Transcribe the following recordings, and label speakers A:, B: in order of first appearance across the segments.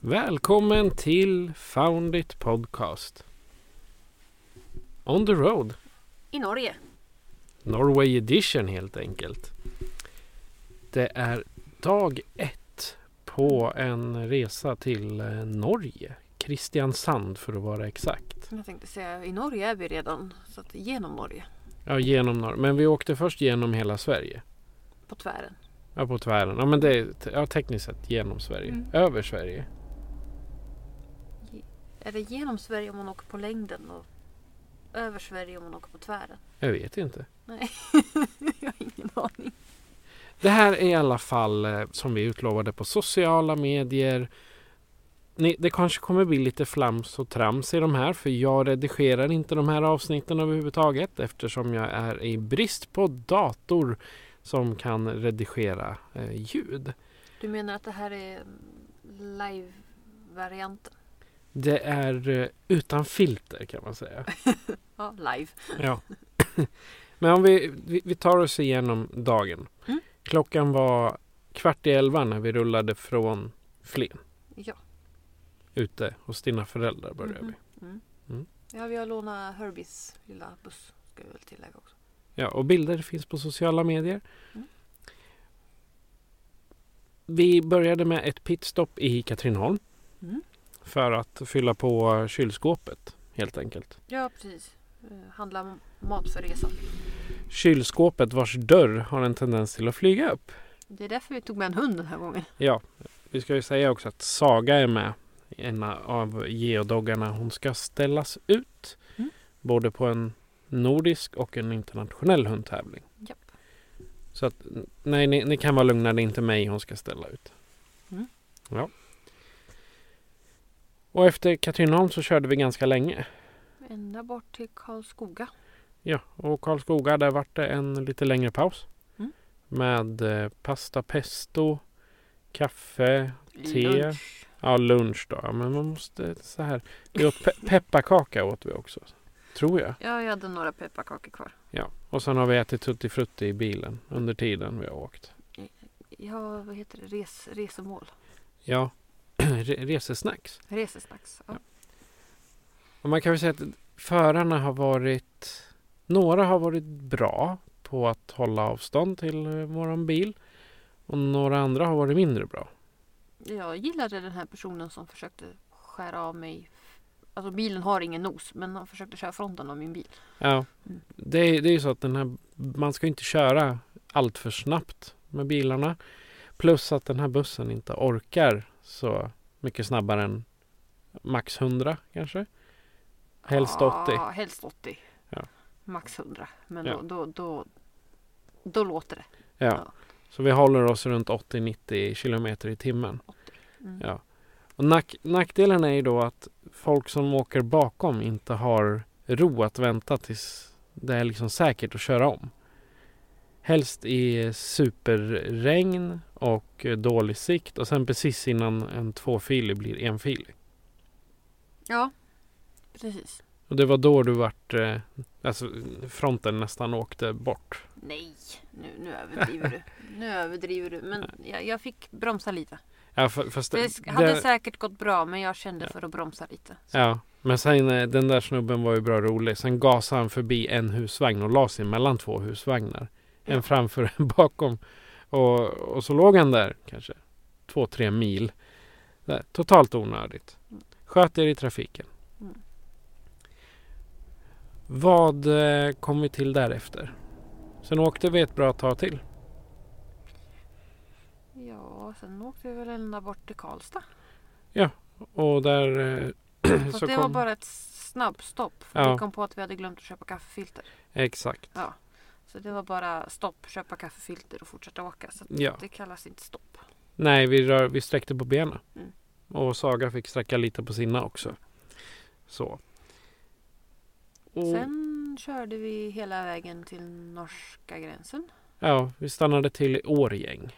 A: Välkommen till Found It Podcast. On the road.
B: I Norge.
A: Norway edition helt enkelt. Det är dag ett på en resa till eh, Norge. Kristiansand för att vara exakt.
B: Jag tänkte säga, i Norge är vi redan. Så att genom Norge.
A: Ja, genom Norge. Men vi åkte först genom hela Sverige.
B: På tvären.
A: Ja, på tvären. Ja, men det är te- ja, tekniskt sett genom Sverige.
B: Mm.
A: Över Sverige.
B: Är det genom Sverige om man åker på längden och över Sverige om man åker på tvären?
A: Jag vet inte.
B: Jag har ingen aning.
A: Det här är i alla fall eh, som vi utlovade på sociala medier. Ni, det kanske kommer bli lite flams och trams i de här för jag redigerar inte de här avsnitten överhuvudtaget eftersom jag är i brist på dator som kan redigera eh, ljud.
B: Du menar att det här är mm, live-varianten?
A: Det är eh, utan filter kan man säga.
B: Ja, live.
A: Ja. Men om vi, vi, vi tar oss igenom dagen.
B: Mm.
A: Klockan var kvart i elva när vi rullade från Flen.
B: Ja.
A: Ute hos dina föräldrar började vi.
B: Mhm. Mm.
A: Mm.
B: Ja, vi har lånat Herbies lilla buss. Ska vi väl tillägga också.
A: Ja, och bilder finns på sociala medier.
B: Mm.
A: Vi började med ett pitstop i Katrineholm
B: Mm.
A: för att fylla på kylskåpet helt enkelt.
B: Ja, precis. Eh, Handla mat för resan.
A: Kylskåpet vars dörr har en tendens till att flyga upp.
B: Det är därför vi tog med en hund den här gången.
A: Ja, vi ska ju säga också att Saga är med. En av geodoggarna. Hon ska ställas ut.
B: Mm.
A: Både på en nordisk och en internationell hundtävling.
B: Japp.
A: Så att, nej, ni, ni kan vara lugna. Det är inte mig hon ska ställa ut.
B: Mm.
A: Ja. Och efter Katrineholm så körde vi ganska länge.
B: Ända bort till Karlskoga.
A: Ja, och Karlskoga där vart det en lite längre paus.
B: Mm.
A: Med eh, pasta pesto, kaffe, Te.
B: Lunch.
A: Ja, lunch då. Ja, men man måste så här. Vi åt pe- pepparkaka åt vi också. Tror jag.
B: Ja, jag hade några pepparkakor kvar.
A: Ja. Och sen har vi ätit tutti frutti i bilen under tiden vi har åkt.
B: Ja, vad heter det? Res, resemål.
A: Ja. Re- resesnacks.
B: Resesnacks. Ja.
A: Och man kan väl säga att förarna har varit... Några har varit bra på att hålla avstånd till eh, våran bil. Och några andra har varit mindre bra.
B: Jag gillade den här personen som försökte skära av mig. Alltså bilen har ingen nos, men han försökte köra fronten av min bil.
A: Ja.
B: Mm.
A: Det, är- det är ju så att den här, man ska ju inte köra allt för snabbt med bilarna. Plus att den här bussen inte orkar så mycket snabbare än max 100 kanske. Helst 80.
B: Ja, helst 80.
A: Ja.
B: Max 100. Men
A: Ja.
B: då, då, då, då låter det.
A: Ja.
B: Ja.
A: Så vi håller oss runt 80-90 kilometer i timmen.
B: Mm.
A: Ja. Och nack, nackdelen är ju då att folk som åker bakom inte har ro att vänta tills det är liksom säkert att köra om. Helst i superregn och eh, dålig sikt och sen precis innan en tvåfilig blir enfilig.
B: Ja, precis.
A: Och det var då du vart, eh, alltså fronten nästan åkte bort.
B: Nej, nu, nu överdriver du. Nu överdriver du. Men jag, jag fick bromsa lite.
A: Ja, fa- fast
B: Det
A: det,
B: sk- hade
A: det,
B: säkert gått bra, men jag kände för att bromsa lite.
A: ja, men sen eh, den där snubben var ju bra rolig. Sen gasade han förbi en husvagn och la sig mellan två husvagnar. En
B: Ja.
A: framför och en bakom. Och, och så låg han där kanske två, tre mil. Där, totalt onödigt. Sköt er i trafiken.
B: Mm.
A: Vad eh, kom vi till därefter? Sen åkte vi ett bra tag till.
B: Ja, sen åkte vi väl ända bort till Karlstad.
A: Och där... eh,
B: Fast
A: så
B: det var
A: kom...
B: bara ett snabbstopp. För
A: Ja.
B: Vi kom på att vi hade glömt att köpa kaffefilter.
A: Exakt.
B: Ja. Så det var bara stopp, köpa kaffefilter och fortsätta åka. Så att
A: Ja.
B: det kallas inte stopp.
A: Nej, vi, rör, vi sträckte på benen.
B: Mm.
A: Och Saga fick sträcka lite på sina också. Så. Och,
B: Sen körde vi hela vägen till norska gränsen.
A: Ja, vi stannade till i Årjäng.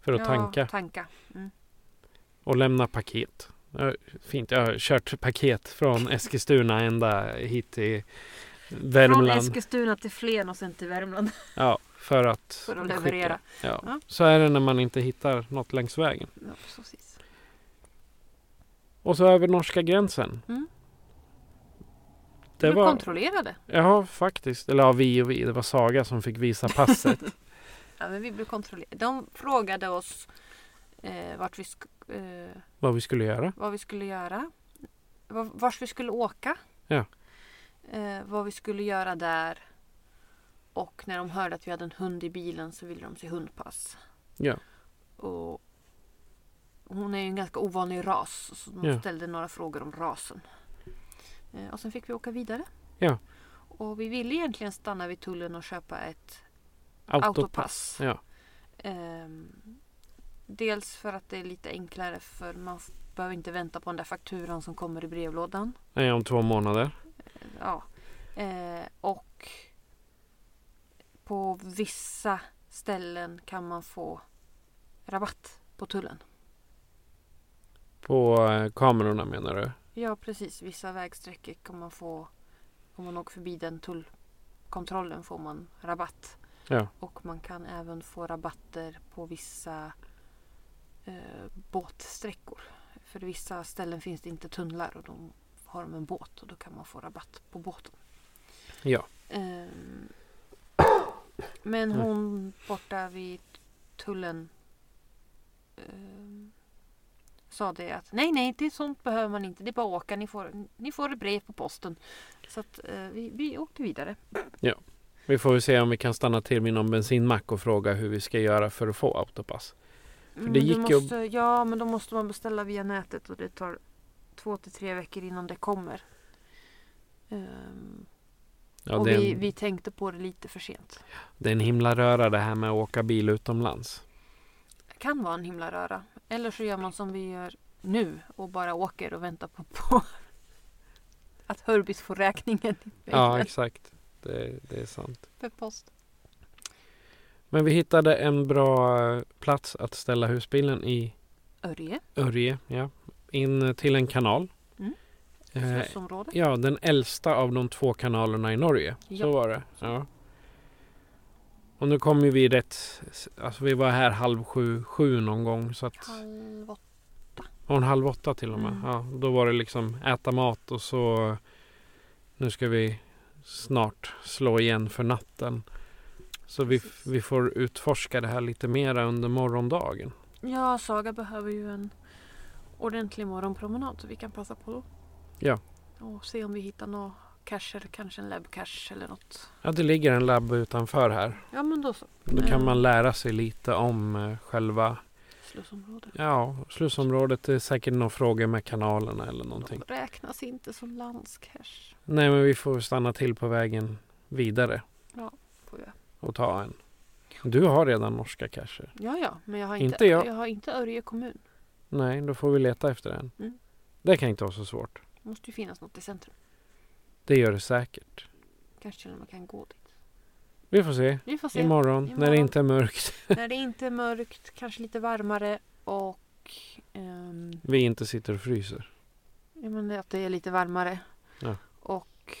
A: För att
B: Ja,
A: tanka
B: tanka. Mm.
A: och lämna paket. Ja, Fint, jag har kört paket från Eskilstuna ända hit till
B: Från
A: Värmland.
B: Eskilstuna till Flen och sen till Värmland
A: Ja, för att,
B: för att
A: skicka.
B: leverera.
A: Ja.
B: Ja.
A: Så är det när man inte hittar något längs vägen.
B: Ja, precis.
A: Och så över norska gränsen.
B: Mm.
A: Det
B: vi
A: var,
B: kontrollerade.
A: ja, faktiskt. Eller ja, vi och vi. Det var Saga som fick visa passet.
B: Ja, men vi blev kontrollerade. De frågade oss eh, vart vi sk- eh,
A: vad vi skulle göra.
B: vad vi skulle göra. Var, vars vi skulle åka.
A: Ja.
B: Eh, vad vi skulle göra där. Och när de hörde att vi hade en hund i bilen så ville de se hundpass.
A: Ja.
B: Och hon är ju en ganska ovanlig ras. Så de
A: Ja.
B: ställde några frågor om rasen. Eh, och sen fick vi åka vidare.
A: Ja.
B: Och vi ville egentligen stanna vid tullen och köpa ett autopass.
A: Ja.
B: Ehm, dels för att det är lite enklare för man f- behöver inte vänta på den där fakturan som kommer i brevlådan.
A: Nej, om två månader.
B: Ja. Eh, och på vissa ställen kan man få rabatt på tullen.
A: På eh, kamerorna menar du?
B: Ja precis, vissa vägsträckor kan man få om man åker förbi den tullkontrollen får man rabatt.
A: Ja.
B: Och man kan även få rabatter på vissa eh, båtsträckor. För vissa ställen finns det inte tunnlar och då har de en båt och då kan man få rabatt på båten.
A: Ja.
B: Ehm, men
A: Mm.
B: hon borta vid tullen ehm, sa det att nej, nej, det är sånt behöver man inte. Det är bara att åka. Ni får, ni får ett brev på posten. Så att eh, vi, vi åkte vidare.
A: Vi får väl se om vi kan stanna till vid någon bensinmack och fråga hur vi ska göra för att få autopass. det
B: Mm, Men du
A: gick ju-
B: måste, Ja, men då måste man beställa via nätet och det tar två till tre veckor innan det kommer. Ehm,
A: Ja,
B: och
A: det, är en,
B: vi, vi tänkte på det lite för sent.
A: det är en himla röra det här med att åka bil utomlands.
B: Det kan vara en himla röra. Eller så gör man som vi gör nu och bara åker och väntar på, på att Hörbis får räkningen i
A: Ja,
B: mejlen
A: exakt. Det, det är sant.
B: per post.
A: Men vi hittade en bra eh, plats att ställa husbilen i
B: Örje,
A: Örje, ja. In till en kanal.
B: Mm.
A: Eh,
B: slussområde.
A: ja, den äldsta av de två kanalerna i Norge.
B: Ja.
A: Så var det. Ja. Och nu kom ju vi rätt... Alltså vi var här halv sju, sju någon gång. Så att,
B: Halv åtta.
A: och en halv åtta till och med.
B: Mm.
A: Ja, då var det liksom äta mat och så... Nu ska vi snart slå igen för natten. Så vi,
B: Precis.
A: vi får utforska det här lite mera under morgondagen.
B: Ja, Saga behöver ju en ordentlig morgonpromenad så vi kan passa på då.
A: Ja.
B: Och se om vi hittar några cacher, kanske en labcache eller något.
A: Ja, det ligger en labb utanför här.
B: Ja, men då så.
A: Då kan
B: Mm.
A: man lära sig lite om eh, själva
B: Slussområde.
A: ja, slussområdet. Det är säkert några frågor med kanalerna eller någonting.
B: De räknas inte som landscache.
A: Nej, men vi får stanna till på vägen vidare
B: Får jag.
A: och ta en. Du har redan norska cacher.
B: Ja, ja, men jag har inte,
A: Inte jag.
B: jag har inte Örje kommun.
A: Nej, då får vi leta efter en.
B: Mm.
A: Det kan inte vara så svårt.
B: Det måste ju finnas något i centrum.
A: Det gör det säkert.
B: Kanske till och med kan gå dit.
A: Vi får se.
B: Vi får se.
A: Imorgon, när det
B: Imorgon.
A: inte är mörkt.
B: När det inte är mörkt, kanske lite varmare och ehm,
A: Vi inte sitter och fryser.
B: ja, men det- att det är lite varmare.
A: Ja.
B: Och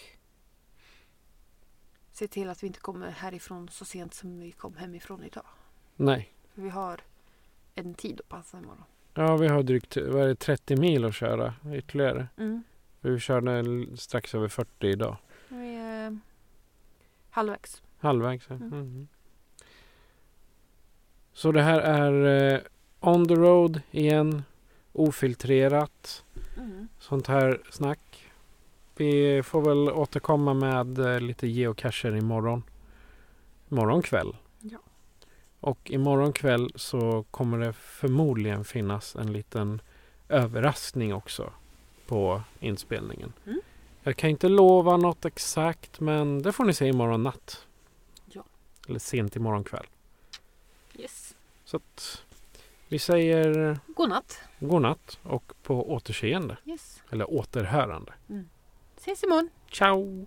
B: se till att vi inte kommer härifrån så sent som vi kom hemifrån idag.
A: Nej.
B: För vi har en tid att passa imorgon.
A: Ja, vi har drygt vad är det, 30 mil att köra ytterligare.
B: Mm.
A: Vi körde l- strax över 40 idag.
B: Vi är halvvägs.
A: Halvvägs, ja.
B: Mm.
A: Mhm. Så det här är eh, on the road
B: Mm.
A: igen. Ofiltrerat. Sånt här snack. Vi får väl återkomma med eh, lite geocacher imorgon. Imorgon kväll.
B: Ja.
A: Och imorgon kväll så kommer det förmodligen finnas en liten överraskning också på inspelningen.
B: Mm.
A: Jag kan inte lova något exakt men det får ni se imorgon natt.
B: Ja.
A: Eller sent imorgon kväll.
B: Yes.
A: Så att vi säger
B: Godnatt.
A: godnatt och på återseende.
B: Yes.
A: Eller återhörande.
B: Ses imorgon.
A: Ciao!